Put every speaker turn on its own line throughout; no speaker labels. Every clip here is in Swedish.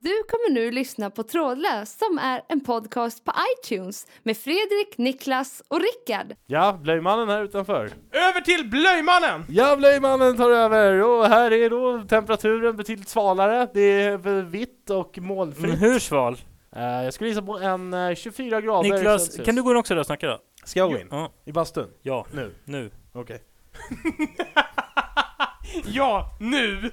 Du kommer nu lyssna på Trådlös som är en podcast på iTunes med Fredrik, Niklas och Rickard.
Ja, blöjmannen här utanför.
Över till blöjmannen!
Ja, blöjmannen tar över och här är då temperaturen betydligt svalare. Det är väl vitt och molnfritt.
Men hur sval?
Eh, jag skulle gissa på en eh, 24 grader
Niklas,
Celsius.
kan du gå in också där och snacka då?
Ska jag gå in?
Ja,
I bastun?
ja
Nu?
nu.
Okej.
Ja, nu!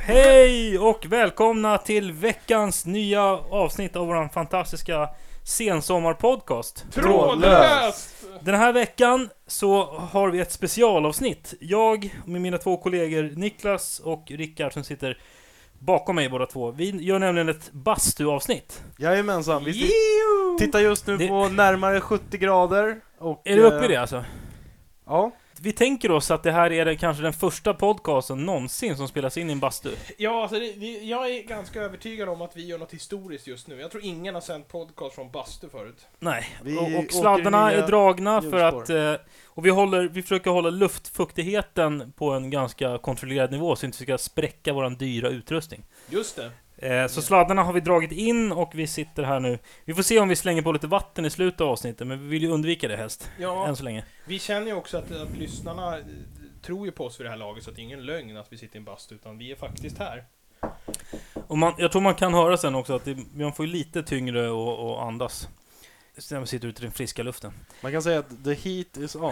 Hej och välkomna till veckans nya avsnitt av vår fantastiska sensommarpodcast.
Trådlöst!
Den här veckan så har vi ett specialavsnitt. Jag med mina två kollegor Niklas och Rickard som sitter bakom mig båda två. Vi gör nämligen ett bastuavsnitt.
Jajamensan, vi sit-
Jo!
tittar just nu
Det-
på närmare 70 grader. Och,
Är du uppe i
eh,
det alltså?
Ja.
Vi tänker oss att det här är den- kanske den första podcasten någonsin som spelas in i en bastu.
Ja, alltså det, det, jag är ganska övertygad om att vi gör något historiskt just nu. Jag tror ingen har sänt podcast från bastu förut.
Nej,
Vi
och,
åker
och sladdarna
nya
är dragna för
hjulspår.
att... eh, Och vi, håller, vi försöker hålla luftfuktigheten på en ganska kontrollerad nivå så vi inte ska spräcka vår dyra utrustning.
Just det.
Eh, Så sladdarna har vi dragit in och vi sitter här nu. Vi får se om vi slänger på lite vatten i slutet av avsnittet, men vi vill ju undvika det helst.
Ja,
Än så länge.
vi känner ju också att, att lyssnarna eh, tror ju på oss vid det här laget, så att det är ingen lögn att vi sitter i en bastu, utan vi är faktiskt här.
Och man, jag tror man kan höra sen också att det, man får ju lite tyngre och, och andas. Sen när man sitter ute i den friska luften.
Man kan säga att the heat is on.
Å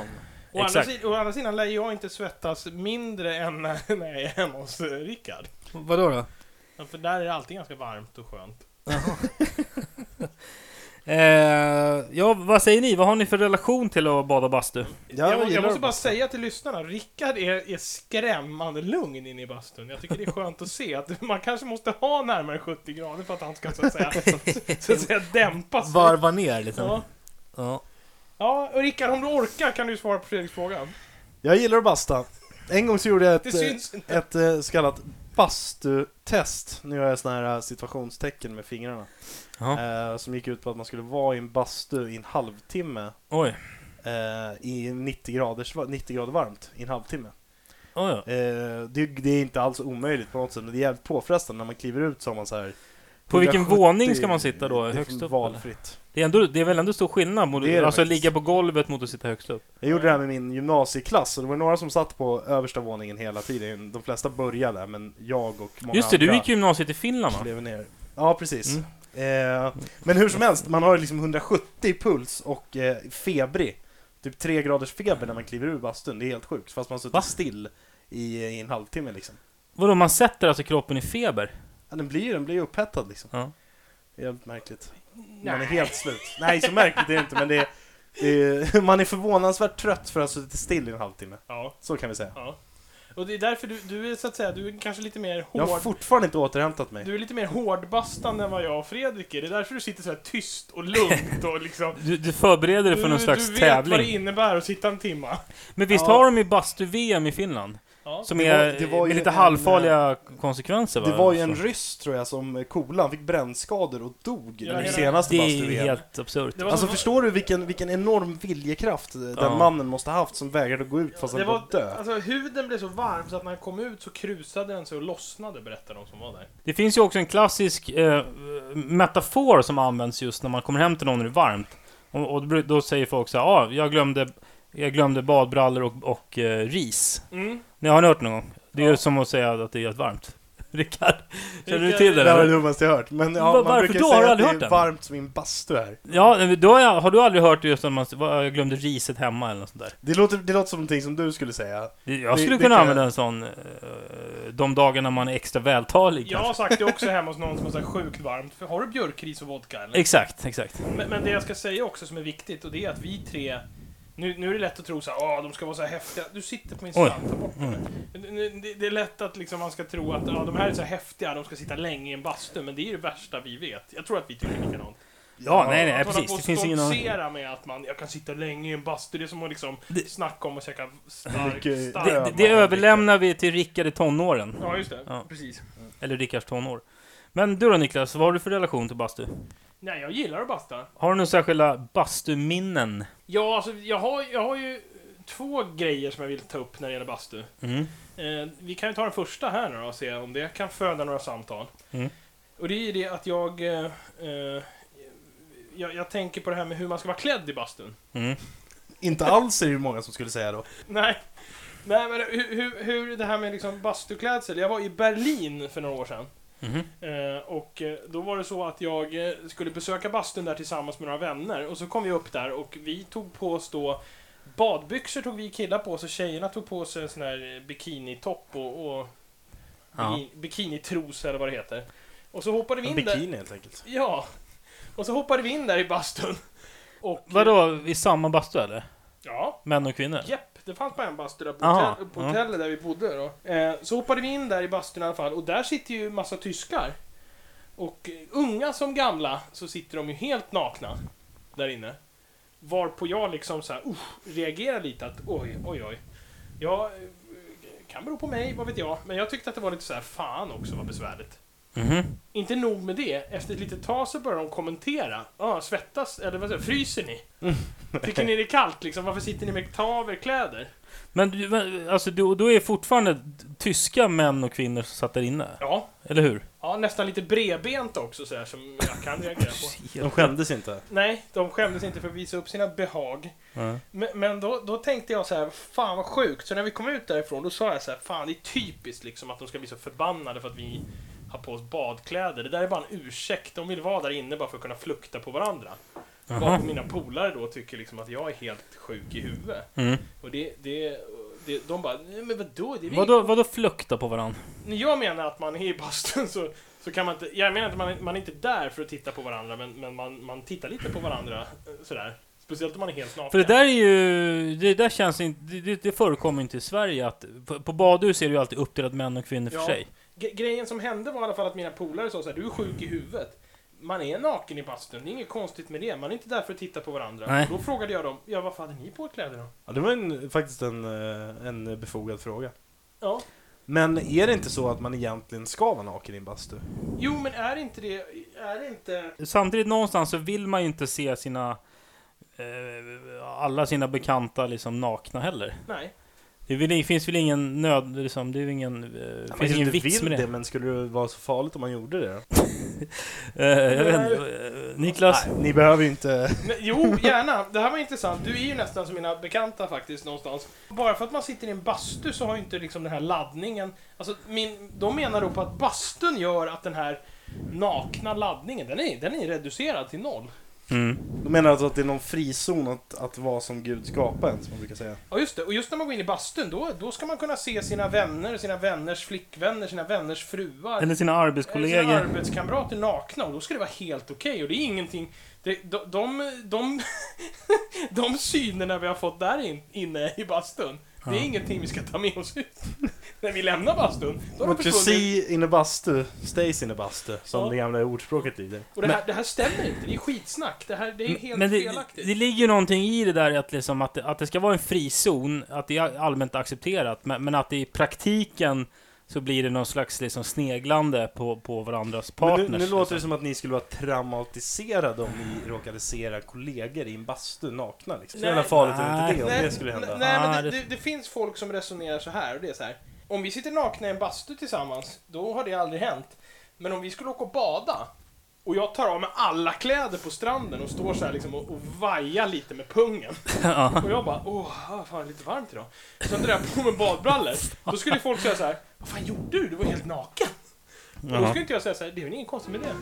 andra,
Exakt.
sidan, å andra sidan lär jag inte svettas mindre än när när jag är hemma hos eh, Rickard.
Vadå då?
Ja, för där är det alltid ganska varmt och skönt.
Eh, ja, vad säger ni? Vad har ni för relation till att bada bastu?
Ja,
jag, må-
gillar
jag måste
det.
bara säga till lyssnarna, Rickard är, är skrämmande lugn inne i bastun. Jag tycker det är skönt att se att man kanske måste ha närmare 70 grader för att han ska så att säga, så att säga dämpa sig.
Varva ner liksom.
Ja.
Ja.
ja, och Rickard om du orkar kan du svara på Fredriks fråga.
Jag gillar att basta. En gång så gjorde jag
Det
ett, eh,
syns inte.
ett eh, så kallat bastutest. Nu gör jag såna här eh, situationstecken med fingrarna.
Ja.
Eh, som gick ut på att man skulle vara i en bastu i en halvtimme
Oj.
eh, i 90 grader, 90 grader varmt i en halvtimme.
Oj, ja.
Eh, det, det är inte alls omöjligt på något sätt, men det är jävligt påfrestande när man kliver ut så har man så här
På vilken
170
våning ska man sitta då?
det är
Högst upp,
Valfritt.
Det, är ändå, det är väl ändå stor skillnad mot
Det är det
alltså,
faktiskt.
ligga på golvet mot att sitta högst upp?
Jag gjorde det här med min gymnasieklass och det var några som satt på översta våningen hela tiden. De flesta började där, men jag och många
Just det, du
andra
gick gymnasiet i Finland va?
klev ner. Ja, precis. Eh, men hur som helst, man har ju liksom 170 i puls och eh, febrig. Typ 3 graders feber när man kliver ur bastun, det är helt sjukt. Fast man sitter
Va?
still i, i en halvtimme liksom.
Vadå, man sätter alltså kroppen i feber?
Ja, den blir den blir ju upphettad liksom.
Ja.
Det är Jävligt märkligt. Man är helt slut. Nej, så märkligt är det inte, men det är, det är, man är förvånansvärt trött för att ha suttit still i en halvtimme.
Ja,
Så kan vi säga.
ja. Och det är därför du, du är så att säga, du är kanske lite mer
Jag har
hård.
fortfarande inte återhämtat mig.
Du är lite mer hårdbastande än vad jag och Fredrik är. Det är därför du sitter så här tyst och lugnt och liksom...
Du, du förbereder dig för någon slags
du vet vad det
tävling.
innebär att sitta en timma.
Men visst
Ja.
har de ju bastu-VM i Finland?
Ja.
Som
Det
är
var- det var ju
med lite
en,
halvfarliga konsekvenser va? Alltså,
Det var ju en
Så.
ryss tror jag som kolan han fick brännskador och dog
Ja,
i
hela-
det senaste
Det är
bastu-VM.
helt absurt.
Det var
Alltså
som-
förstår du vilken, vilken enorm viljekraft den
Ja.
mannen måste ha haft som vägrade att gå ut fast han
Det
var,
var,
död?
alltså, huden blev så varm så att när han kom ut så krusade den sig och lossnade, berättar de som var där.
Det finns ju också en klassisk eh, metafor som används just när man kommer hem till någon när det är varmt. Och, och då bru- då säger folk så här, ah, jag glömde, jag glömde badbrallor och, och eh, ris.
Mm.
Ni har ni hört någon gång? Det är ju
Ja.
som att säga att det är helt varmt. Rickard, känner du
Rickard-
till det?
Det här var det
eller?
dummaste jag hört. Men ja,
Va-
man
varför
brukar
då?
säga
Har du
att det
aldrig
är
hört den?
varmt som i en bastu här.
Ja, men då har, jag, har du aldrig hört just att man s- vad, jag glömde riset hemma eller något sånt där?
Det låter, det låter som någonting som du skulle säga.
Det- Jag
Det-
skulle
det
kunna
kan-
använda en sån eh, de dagarna man är extra vältalig.
Jag har
kanske.
sagt det också hemma hos någon som var så här sjukt varmt. För Har du björkris och vodka eller?
Exakt, exakt.
Men, men det jag ska säga också som är viktigt, och det är att vi tre... Nu, nu är det lätt att tro så här, "Ah, de ska vara så här häftiga. Du sitter på min
Oj. Mm.
strand, ta bort den. Nu- nu- Det, det är lätt att liksom man ska tro att ah, de här är så här häftiga, de ska sitta länge i en bastu, men det är ju det värsta vi vet. Jag tror att vi tycker likadant.
Ja, nej, nej,
att hålla
precis.
på
Det
och
finns ingen aning.
stoltsera med att man, jag kan sitta länge i en bastu, det är som att liksom
Det-
snacka om att käka stark,
Mycket-
stark
Det, det, det överlämnar vi till Rickard i tonåren.
Ja, just det.
Ja.
Precis.
Eller Rickards tonår. Men du då Niklas, vad har du för relation till bastu?
Nej, jag gillar att basta.
Har du några särskilda bastuminnen?
Ja, alltså, jag har, jag har ju två grejer som jag vill ta upp när det gäller bastu.
Mm.
Eh, vi kan ju ta den första här nu då och se om det kan föda några samtal.
Mm.
Och det är ju det att jag, eh, eh, jag... Jag tänker på det här med hur man ska vara klädd i bastun.
Mm.
Inte alls är det ju många som skulle säga då.
Nej. Nej, men hur, hur, hur det här med liksom bastuklädsel. Jag var i Berlin för några år sedan.
Mhm.
Eh, och eh, då var det så att jag eh, skulle besöka bastun där tillsammans med några vänner. Och så kom vi upp där och vi tog på oss då badbyxor tog vi killar på oss och tjejerna tog på sig en sån här eh, bikinitopp och, och
Ja.
bikini, bikinitros eller vad det heter. Och så hoppade vi
En
in där.
bikini helt enkelt.
Ja. Och så hoppade vi in där i bastun. Och,
Vadå, i samma bastu eller?
Ja.
Män och kvinnor?
Japp, det fanns bara en bastu där på,
Aha,
hotell, på
ja.
hotellet där vi bodde då. Eh, så hoppade vi in där i bastun i alla fall och där sitter ju massa tyskar. Och eh, unga som gamla så sitter de ju helt nakna där inne. Varpå jag liksom så här, usch, reagerar lite att oj, oj, oj. Jag eh, kan bero på mig, vad vet jag. Men jag tyckte att det var lite så här, fan också vad besvärligt.
Mhm.
Inte nog med det, efter ett litet tag så börjar de kommentera. Ah, svettas, eller vad säger jag, fryser ni?
Mm.
Tycker ni det är kallt liksom? Varför sitter ni med taverkläder?
Men du, men, alltså, du, då är fortfarande tyska män och kvinnor som satt där inne?
Ja,
Eller hur?
ja nästan lite bredbent också sådär som jag kan reagera på.
De skämdes inte.
Nej, de skämdes inte för att visa upp sina behag.
Ja.
Men, men då, då tänkte jag så här, fan vad sjukt. Så när vi kom ut därifrån då sa jag så här, fan det är typiskt liksom att de ska bli så förbannade för att vi har på oss badkläder. Det där är bara en ursäkt. De vill vara där inne bara för att kunna flukta på varandra.
Jaha.
Varpå mina polare då tycker liksom att jag är helt sjuk i huvudet.
Mm.
Och det, det, det, de bara, nej men vadå? Det är väl
Vadå, vadå flukta på varandra?
När jag menar att man är i bastun så, så kan man inte... Jag menar att man, man är inte där för att titta på varandra, men, men man, man tittar lite på varandra eh, sådär. Speciellt om man är helt naken.
För det där är ju, det där känns inte, det- det, det förekommer inte i Sverige att, på, på badhus är det ju alltid uppdelat män och kvinnor för
Ja.
sig.
Gre- Grejen som hände var i alla fall att mina polare sa såhär, du är sjuk i huvudet. Man är naken i bastun, det är inget konstigt med det. Man är inte där för att titta på varandra.
Nej.
Då frågade jag dem, ja varför hade ni på er kläder då?
Ja, det var en, faktiskt en, eh, en befogad fråga.
Ja.
Men är det inte så att man egentligen ska vara naken i en bastu?
Jo men är inte det, är det inte...
Samtidigt någonstans så vill man ju inte se sina, eh, alla sina bekanta liksom nakna heller.
Nej.
Det, är väl, det finns väl ingen nöd, liksom, det är ju ingen, eh,
Man
finns ingen
kanske inte
vits
vill
med det.
Men skulle det vara så farligt om man gjorde det? då?
Eh, jag vet inte, eh, Niklas?
Nej, ni behöver ju inte...
Men, jo, gärna. Det här var intressant. Du är ju nästan som mina bekanta faktiskt någonstans. Bara för att man sitter i en bastu så har ju inte liksom den här laddningen... Alltså, min, de menar då på att bastun gör att den här nakna laddningen, den är, den är reducerad till noll.
Mm.
De menar alltså att det är någon frizon att, att vara som Gud skapade en, som man brukar säga.
Ja, just det. Och just när man går in i bastun, då, då ska man kunna se sina vänner, sina vänners flickvänner, sina vänners fruar.
Eller sina
Sina
arbetskollegor.
arbetskamrater nakna och då ska det vara helt okej och det är ingenting... Det, de, de, de, de synerna vi har fått där in, inne i bastun, det
Ja.
är ingenting vi ska ta med oss ut. När vi lämnar bastun, då har de
What you
försvunnit.
see in a bastu stays in a bastu, som
Ja.
det gamla ordspråket lyder.
Och det här, det här stämmer inte, det är skitsnack. Det här det är helt
Men det,
felaktigt.
det ligger ju någonting i det där att, liksom att, det, att det ska vara en frizon, att det är allmänt accepterat, men, men att det i praktiken så blir det någon slags liksom sneglande på, på varandras
Men
partners.
nu, nu låter det
liksom.
som att ni skulle vara traumatiserade om ni råkade se era kollegor i en bastu nakna. Liksom. Så
Nej.
jävla farligt är det inte det
Nej,
om det skulle hända.
Nej,
Ah,
men
det-
det, det, det finns folk som resonerar så här och det är så här. Om vi sitter nakna i en bastu tillsammans, då har det aldrig hänt. Men om vi skulle åka och bada och jag tar av mig alla kläder på stranden och står så här liksom och, och vajar lite med pungen.
ja.
Och jag bara, åh, ah, fan det är lite varmt idag. Sen drar jag på mig badbrallor. Då skulle folk säga så här, vad fan gjorde du? Du var helt naken. Och då
Jaha.
skulle inte jag säga så här, det är väl ingen konstigt med det.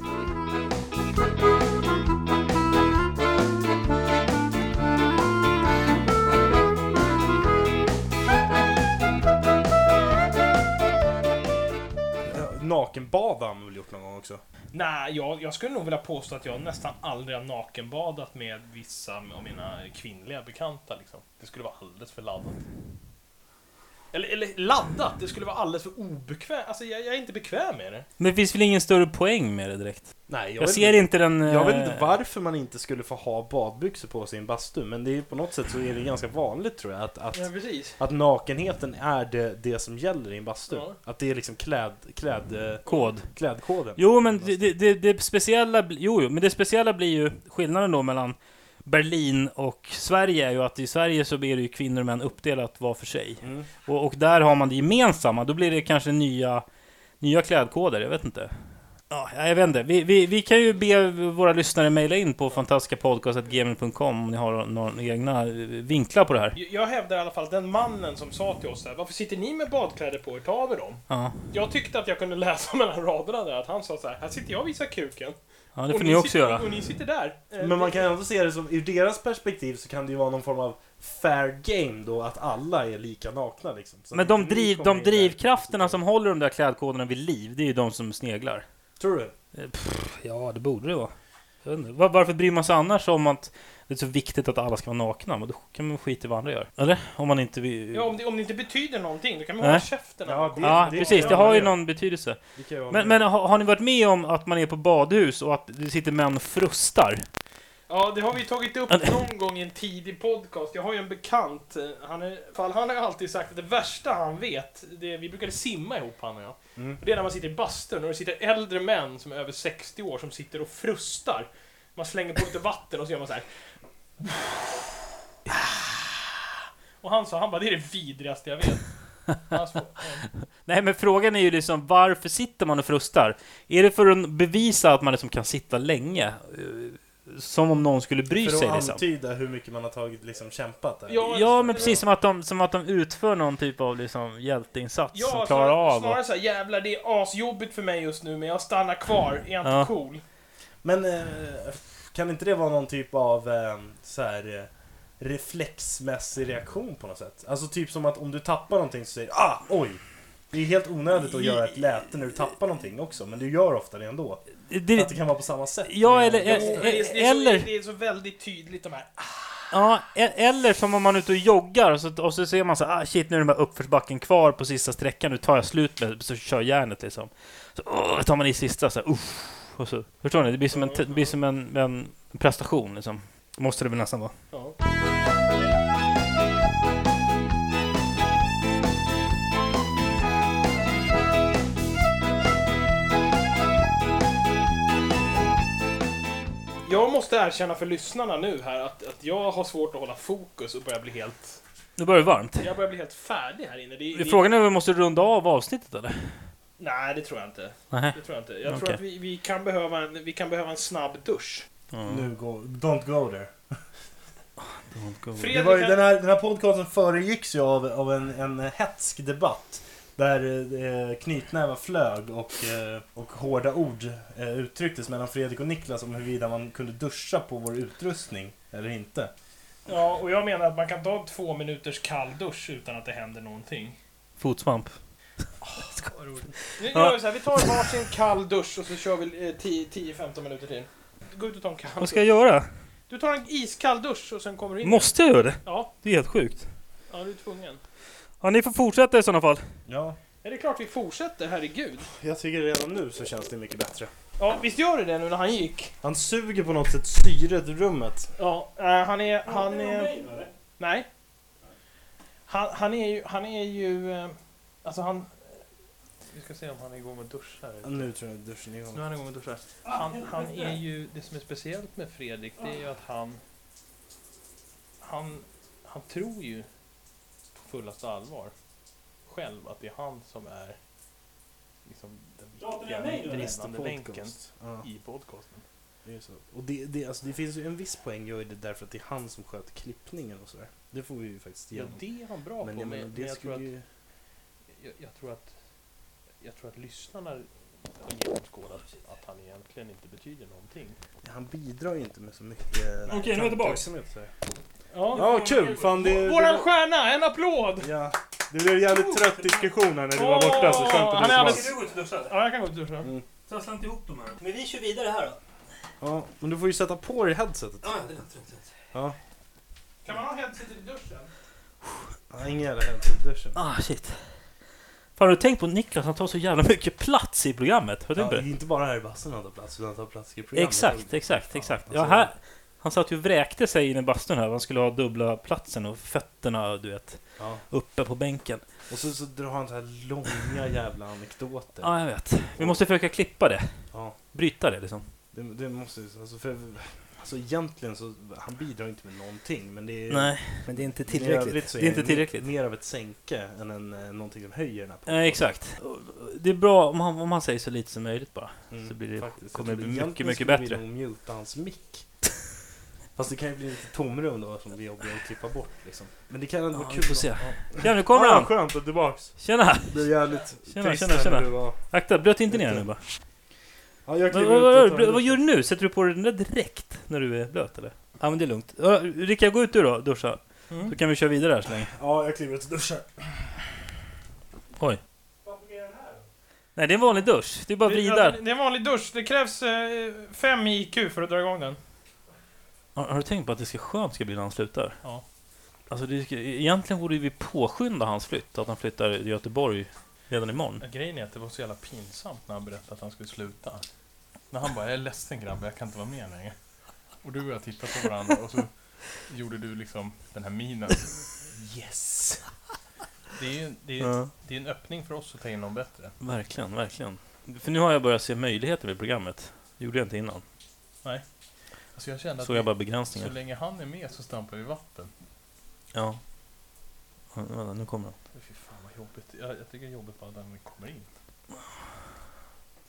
Ja, Nakenbad har man väl gjort någon gång också?
Nej, jag, jag skulle nog vilja påstå att jag nästan aldrig har nakenbadat med vissa av mina kvinnliga bekanta. Liksom. Det skulle vara alldeles för laddat. Eller, eller laddat, det skulle vara alldeles för obekvämt. Alltså jag, jag är inte bekväm med det.
Men det finns väl ingen större poäng med det direkt?
Nej,
Jag, ser inte den...
Jag vet inte
eh,
varför man inte skulle få ha badbyxor på sig i en bastu, men det är på något sätt så är det ganska vanligt tror jag att, att,
precis.
att nakenheten är det, det som gäller i en bastu.
Ja.
Att det är liksom kläd, kläd, eh,
Kod.
klädkoden.
Jo, men det, det- det, det speciella... bli- Jo, jo, men det speciella blir ju skillnaden då mellan Berlin och Sverige är ju att i Sverige så blir det ju kvinnor och män uppdelat var för sig.
Mm.
Och, och där har man det gemensamma, då blir det kanske nya, nya klädkoder, jag vet inte. Ja, jag vet inte. Vi, vi, vi kan ju be våra lyssnare mejla in på fantastiskapodcast.gmail.com om ni har några egna eh, vinklar på det här.
Jag, jag hävdar i alla fall den mannen som sa till oss där, varför sitter ni med badkläder på er? Ta av er dem.
Ja,
Jag tyckte att jag kunde läsa mellan raderna där att han sa så här, här sitter jag och visar kuken.
ja det
och
får ni också
sitter,
göra.
Och ni sitter där. Eh,
Men man kan ändå se det som, ur deras perspektiv så kan det ju vara någon form av fair game då, att alla är lika nakna liksom. Så
Men
att
de,
inte ni
driv,
kommer
de
in där.
drivkrafterna som håller de där klädkoderna vid liv, det är ju de som sneglar.
Tror du?
Ja, det borde det vara. Jag vet inte. Var- Varför bryr man sig annars om att det är så viktigt att alla ska vara nakna? Men då kan man skita i vad andra gör. Eller? Om man inte vill...
Ja, om det, om det inte betyder någonting, då kan man
Nej.
hålla käften.
Ja,
Ja,
Det- det-
precis.
ja,
Det har ju
det-
någon betydelse.
Det kan ju vara
Men, men har, har ni varit med om att man är på badhus och att det sitter män och frustar?
Ja, det har vi tagit upp någon gång i en tidig podcast. Jag har ju en bekant, eh, han, är, fall, han har ju alltid sagt att det värsta han vet, det, vi brukade simma ihop han och jag.
Mm.
Och Det är när man sitter i bastun och det sitter äldre män som är över 60 år som sitter och frustar. Man slänger på lite vatten och så gör man så här. Och han sa, han bara, det är det vidrigaste jag vet. Han sa, "Ja."
Nej, men frågan är ju liksom varför sitter man och frustar? Är det för att bevisa att man liksom kan sitta länge? Eh, Som om någon skulle bry sig
För att
liksom.
antyda hur mycket man har tagit liksom kämpat där.
Ja, alltså,
Ja, men precis som att de, som att de utför någon typ av liksom hjälteinsats som
Ja,
klarar
snarare,
av. Och,
snarare så här, jävlar det är asjobbigt för mig just nu men jag stannar kvar, är jag inte
Ja.
cool?
Men eh, kan inte det vara någon typ av eh, så här, eh, reflexmässig reaktion på något sätt? Alltså typ som att om du tappar någonting så säger du, ah, oj! Det är helt onödigt att göra ett läte när du tappar någonting också, men du gör ofta det ändå. Att
det,
det kan vara på samma sätt.
ja, eller,
Jo, men det, är, det, är
Eh, eller,
så, det är så väldigt tydligt de här.
ja, e- eller som om man är ute och joggar och så, och så ser man så här, ah, shit, nu är den bara uppförsbacken kvar på sista sträckan, nu tar jag slut med så kör järnet liksom. Så åh, tar man i sista så här, uff, och så, Förstår ni? Det blir som en, det blir som en, en prestation liksom. Måste det väl nästan vara.
Ja. Jag måste erkänna för lyssnarna nu här att, att jag har svårt att hålla fokus och börjar bli helt...
Nu börjar det varmt.
Jag börjar bli helt färdig här inne. Det, det,
Frågan är om vi måste runda av avsnittet eller?
nej, det tror jag inte.
Nej.
Det tror jag inte. Jag tror
Okej.
att vi, vi, kan behöva en, vi kan behöva en snabb dusch.
Nu go, don't go there.
Fredrik,
Det var ju, den, här, den här podcasten föregicks ju av, av en, en hätsk debatt. Där eh, knytnävar flög och, eh, och hårda ord eh, uttrycktes mellan Fredrik och Niklas om huruvida man kunde duscha på vår utrustning eller inte.
Ja, och jag menar att man kan ta en två minuters kall dusch utan att det händer någonting.
Fotsvamp.
Nu
Ja.
gör vi så här, vi tar varsin kall dusch och så kör vi eh, 10 10-15 minuter till. Gå ut och ta en kall
Vad ska jag
dusch.
göra?
Du tar en iskall dusch och sen kommer du in.
Måste jag göra det?
Ja,
Det är helt sjukt.
ja, du är tvungen.
Ja, ni får fortsätta i sådana fall.
Ja,
Ja, det är klart vi fortsätter, herregud.
jag tycker redan nu så känns det mycket bättre.
Ja, visst gör det det nu när han gick?
Han suger på något sätt syret ur rummet.
Ja, eh, han är... Han är... Nej. Han, han är ju... Han är ju... eh, Alltså han... Vi ska se om han är igång och duschar.
Nu tror jag duschen är
Nu
igång.
är han igång och duschar. Han, han är ju, det som är speciellt med Fredrik, det är ju att han, han, han tror ju på fullaste allvar själv att det är han som är liksom den viktiga drivande länken
Ja,
i podcasten.
det är så. Och det, det, alltså, det finns ju en viss poäng gör ju det därför att det är han som sköter klippningen och sådär. Det får vi ju faktiskt
Ja,
igenom.
det är han bra
Men
på,
jag menar,
men, men
det
jag, tror
skulle
att,
ju...
jag, jag tror att jag tror att lyssnarna har genomskådat att han egentligen inte betyder någonting.
Han bidrar ju inte med så mycket...
Okej, nu är jag tillbaks.
tacksamhet, så här. Ja, kul! Fan, det...
Våran
det var-
stjärna, en applåd!
Ja. Det blev en jävligt trött diskussion här när du var
Åh,
borta, så skönt att
han är
lyssna.
alldeles-
gå ut och duscha?
Ja, jag kan gå och duscha.
Trassla inte ihop dem här. Men vi kör vidare här då.
Ja, men du får ju sätta på dig headsetet.
Ja, det låter inte.
Ja.
Kan man ha headset i duschen?
Ja, Ingen jävla heltidsduschen.
Ah, shit. Fan, har du tänkt på Niklas? Han tar så jävla mycket plats i programmet. Har du
Ja,
tänkt
det
på
är
det?
inte bara här i bastun han tar plats, utan han tar plats i programmet.
typ. Exakt, exakt, exakt.
alltså-
Ja, här, han satt ju och vräkte sig in i bastun här. Han skulle ha dubbla platsen och fötterna, du vet,
Ja.
uppe på bänken.
Och så, så drar han så här långa jävla anekdoter.
Ja, jag vet. Vi måste försöka klippa det.
Ja.
Bryta det liksom.
Det, det måste ju- alltså, för, alltså egentligen så, han bidrar inte med någonting men det är...
Nej,
Men det är inte
men i övrigt
tillräckligt.
så
Det är inte
mer-
tillräckligt.
Mer av ett sänke än en, eh, någonting som höjer den här podden.
eh, exakt. Det är bra om han, om han säger så lite som möjligt bara.
Mm,
så blir det-
faktiskt.
kommer det bli
Egentligen
mycket, mycket
skulle vi
bättre.
nog muta hans mick. Fast det kan ju bli lite tomrum då som blir jobbigt att klippa bort liksom. Men det kan ändå
Ja,
vara
vi
kul.
får
då.
se.
Ja.
Ja, nu kommer
Ja,
han!
Skönt att du är tillbaks.
Tjena!
Det blev jävligt
Tjena,
trist
tjena,
här när
tjena.
du var-
Akta, blöt inte ner nu bara.
Ja, jag
Men,
kliver
vad,
ut och
vad,
tar
vad,
en
vad
dusch.
gör du nu? Sätter du på dig den där direkt när du är blöt eller? Ja men det är lugnt. Ja, Rickard gå ut du då, duscha.
Mm.
Så kan vi köra vidare här så länge.
Ja, jag kliver ut och duschar.
Oj. Nej det är en vanlig dusch. Det är bara vridar.
Det är en vanlig dusch. Det krävs eh, 5 IQ för att dra igång den.
Har, har du tänkt på att det ska skönt ska bli när han slutar?
Ja.
Alltså det, ska- egentligen borde vi påskynda hans flytt. Att han flyttar till Göteborg redan imorgon.
Grejen är att det var så jävla pinsamt när han berättade att han skulle sluta. När han bara, jag är ledsen grabbar, jag kan inte vara med längre. Och du och jag tittade på varandra och så gjorde du liksom den här minen. Yes! Det är ju det är, ju-
Ja.
det är en öppning för oss att ta in någon bättre.
Verkligen, verkligen. För nu har jag börjat se möjligheter med programmet. Det gjorde jag inte innan.
Alltså jag kände att
Såg jag bara
så
begränsningar.
länge han är med så stampar vi vatten.
Ja. Ja, Vänta, nu kommer han.
Fy fan vad jobbigt. Jag, jag tycker det är jobbigt bara att den kommer in.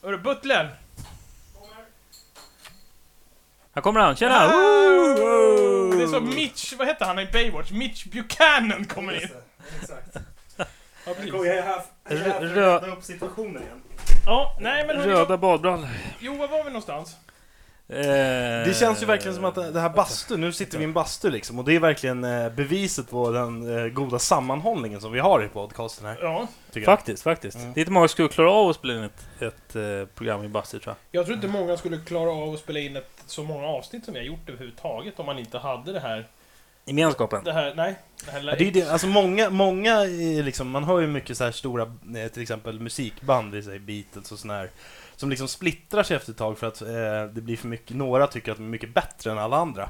Hörru, butlern!
Här kommer han, tjena!
Det är som Mitch, vad heter han i Baywatch? Mitch Buchanan kommer in.
Exakt.
Ja,
Jag
precis.
kommer jag är här jag är här för att
Rö-
rädda upp situationen igen.
ja nej men hörru,
Röda badbrallor.
Jo, var var vi någonstans?
Det
Eh,
känns ju verkligen som att det här bastu, nu sitter vi i en bastu liksom och det är verkligen eh, beviset på den eh, goda sammanhållningen som vi har i podcasten här.
Ja.
Tycker jag.
Faktiskt, faktiskt.
Mm.
Det är inte många som skulle klara av att spela in ett, ett eh, program i bastu tror
Jag tror inte många skulle klara av att spela in ett, så många avsnitt som vi har gjort överhuvudtaget om man inte hade det här...
jag. Gemenskapen.
Det här, nej. Det här
Ja, det är det, alltså många, många eh, liksom, man hör ju mycket så här stora, eh, till exempel musikband, vi säger Beatles och sån här, som liksom splittrar sig efter ett tag för att eh, det blir för mycket, några tycker att de är mycket bättre än alla andra.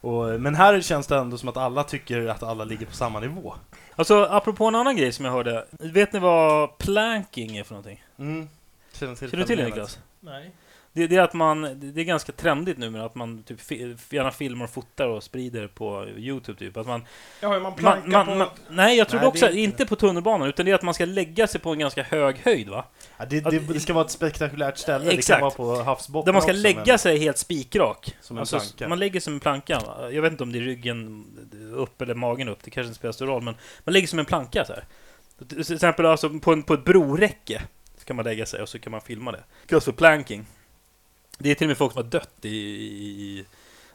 Och, eh, men här känns det ändå som att alla tycker att alla ligger på samma nivå.
Alltså, apropå en annan grej som jag hörde. Vet ni vad planking är för någonting?
Mm. Känner,
Känner du till det Niklas?
Nej.
Det, det är att man, det är ganska trendigt numera att man typ fi, gärna filmar och fotar och sprider på Youtube typ. Att man,
Ja, hur man plankar
man, man,
på...
man, nej, jag trodde
Nej,
också
det är
att-
inte-
inte på tunnelbanan, utan det är att man ska lägga sig på en ganska hög höjd va?
Ja, det, det, det ska vara ett spektakulärt ställe, det kan
Exakt.
vara på havsbotten
Där man ska
också,
lägga
men-
sig helt spikrak.
Som en planka.
Alltså, Man lägger som en planka. Jag vet inte om det är ryggen upp eller magen upp, det kanske inte spelar stor roll, men man lägger som en planka så här. Till exempel alltså på, en, på ett broräcke så kan man lägga sig och så kan man filma det. Det kallas för planking. Det är till och med folk som har dött i, i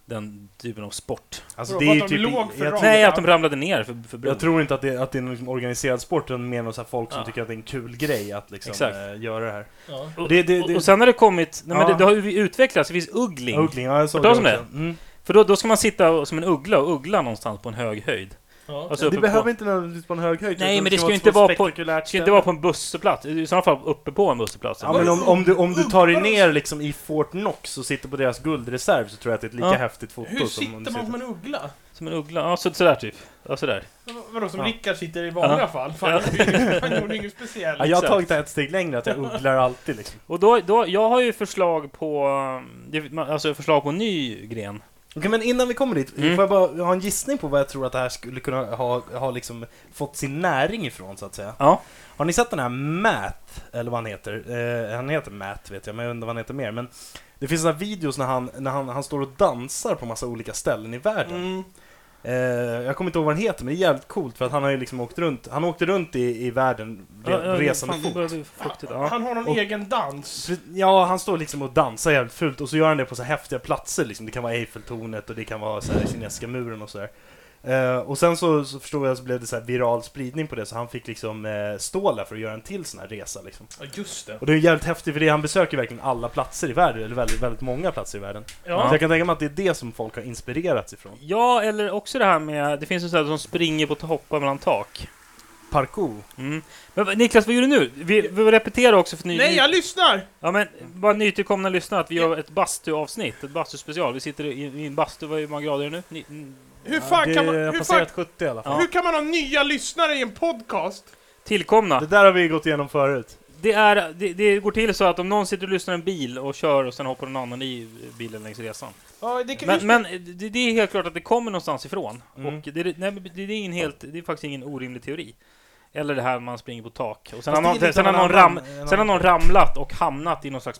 den typen av sport.
Alltså,
Vadå,
det är
att
ju
de
typ,
låg för
jag,
rakt?
Nej, att de ramlade ner för, för bron.
jag tror inte att det, att det är en organiserad sport, utan mer någon så här folk som
Ja.
tycker att det är en kul grej att liksom,
Exakt.
eh, göra det här.
Ja.
och,
det- det-
och-
det-
och sen har det kommit, nej, men
Ja.
det, det har ju utvecklats, det finns uggling.
Uggling, ja jag såg
Hört talas om
också. Mm.
För då, då ska man sitta och- som en uggla och uggla någonstans på en hög höjd.
Ja.
Alltså uppe
Det
på-
behöver inte nödvändigtvis vara en hög höjd.
Nej,
utan
men det ska ju
ett
inte vara på-
spektakulärt
Det ska inte
ställe.
vara på en busseplats, i sådana fall uppe på en busseplats.
Ja, men om, om, du, om du tar dig ner liksom i Fort Knox och sitter på deras guldreserv så tror jag att det är ett lika
Ja.
häftigt foto
Hur
som om du
sitter man som en uggla?
Som en uggla, ja så, sådär typ. Ja, sådär.
Vadå, som
Ja.
Rickard sitter i vanliga
Ja.
fall? Fan,
Ja.
Han gjorde inget speciellt.
Ja, jag har
Exakt.
tagit det här ett steg längre, att jag ugglar alltid liksom.
Och då, då, jag har ju förslag på, um, det- man- alltså förslag på en ny gren.
Okej, men innan vi kommer dit,
Mm.
får jag bara ha en gissning på vad jag tror att det här skulle kunna ha, ha liksom fått sin näring ifrån, så att säga.
Ja.
Har ni sett den här Matt, eller vad han heter? Eh, han heter Matt, vet jag, men jag undrar vad han heter mer. Men det finns sådana videos när han, när han, han står och dansar på massa olika ställen i världen.
Mm.
Eh, jag kommer inte ihåg vad han heter, men det är jävligt coolt för att han har ju liksom åkt runt. Han åkte runt i, i världen re,
Ja, ja,
resande
fan, det
fot.
börjar bli fuktigt, ja.
Han har någon
Och-
egen dans.
Så- Ja, han står liksom och dansar jävligt fult och så gör han det på så här häftiga platser liksom. Det kan vara Eiffeltornet och det kan vara så här kinesiska muren och sådär. Eh, och sen så, så förstod jag så blev det så här viral spridning på det så han fick liksom eh, ståla för att göra en till sån här resa liksom.
Ja, just det.
Och det är jävligt häftigt för det, han besöker verkligen alla platser i världen, eller väldigt, väldigt många platser i världen.
Ja.
Så jag kan tänka mig att det är det som folk har inspirerats ifrån.
Ja, eller också det här med... Det finns ju sådana som springer på att hoppa mellan tak.
Parkour.
Mm. Men vad- Niklas, vad gör du nu? Vi, vi repeterar också för ny...
Nej,
ny-
jag lyssnar!
Ja, men bara nytillkomna lyssnare att vi gör ett bastuavsnitt, ett bastuspecial. Vi sitter i, i en bastu, vad är hur många grader är det nu? Ni,
Hur fan
det
kan man...
har
Hur fan,
passerat 70 i alla fall.
Ja.
hur kan man ha nya lyssnare i en podcast?
tillkomna.
Det där har vi gått igenom förut.
Det, är, det, det går till så att om någon sitter och lyssnar i en bil och kör och sen hoppar någon annan i bilen längs resan.
Ja, det kan,
Men, men det, det är helt klart att det kommer någonstans ifrån.
Mm.
Och det, är- nej, men det, är ingen helt, det är faktiskt ingen orimlig teori. Eller det här man springer på tak. Och
Fast det
sen, har
är
någon,
lite
sen, har
av en
någon ram,
annan- en
sen har
annan-
någon ramlat och hamnat i någon slags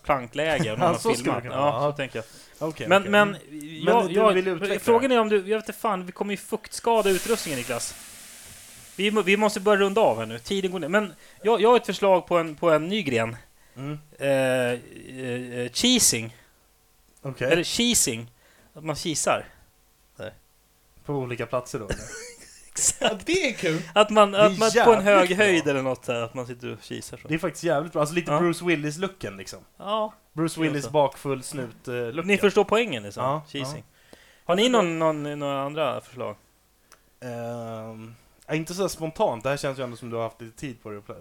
plankläge och
Ja,
någon har
så skulle
filmat.
det kunna vara.
Ja, så tänker jag.
Okej,
Men,
okej. Mm.
men, jag,
du
jag,
vill utveckla
frågan är om du, jag vet inte fan, vi kommer ju fuktskada utrustningen Niklas. Vi, må- vi måste börja runda av här nu, tiden går ner. Men jag, jag har ett förslag på en, på en ny gren.
Mm.
Eh, eh, eh, cheesing,
Okej,
eller cheesing. Att man kisar.
på olika platser då. eller?
ja, det är kul.
Att man,
Det är
att man på en hög
jävligt
höjd
bra.
eller något så här, att man sitter och kisar så.
Det är faktiskt jävligt bra. Alltså lite
Ja.
Bruce Willis-looken liksom.
Ja,
Bruce
Det är
Willis
så.
bakfull snut-looken.
ni förstår poängen liksom,
Ja,
cheesing. Har ni någon, någon, några andra förslag?
Ehm, ja, inte så här spontant, det här känns ju ändå som du har haft lite tid på dig att pla-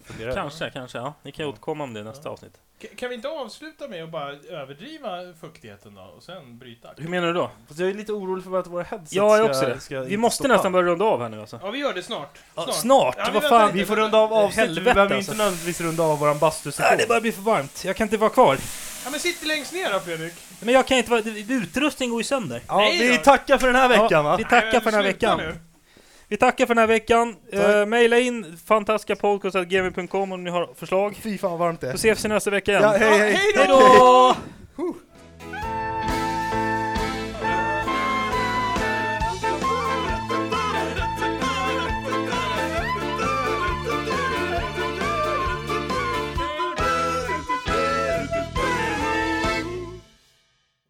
att fundera över.
Kanske, kanske, ja. Ni kan ju återkomma om det i nästa avsnitt.
K- Kan vi inte avsluta med att bara överdriva fuktigheten då och sen bryta?
Hur menar du då?
Fast jag är lite orolig för att våra headset
Ja, jag är
ska-
också det.
ska
Vi
inte
måste
stoppa.
nästan börja runda av här nu alltså.
Ja, vi gör det snart.
Ja,
Snart.
snart?
Ja, vi
Vad
väntar
fan?
lite.
Vi får runda av avsnittet, vi
Helvete,
behöver ju
alltså.
inte nödvändigtvis runda av våran
Nej, det
bastusession.
börjar bli för varmt. Jag kan inte vara kvar.
Ja, men sitt längst ner då, Fredrik.
Men jag kan inte vara... Utrustningen går ju sönder.
Ja,
Nej
vi
då.
tackar för den här veckan va?
Vi tackar för den här
Eh, Sluta
veckan.
nu.
Vi tackar för den här veckan.
Tack.
Eh, maila in fantastiskapodcast.gmail.com om ni har förslag.
Fy fan vad varmt det
Så
är.
ses vi nästa vecka igen.
Ja, hej
Ja,
hej!
hej då!
Hej då!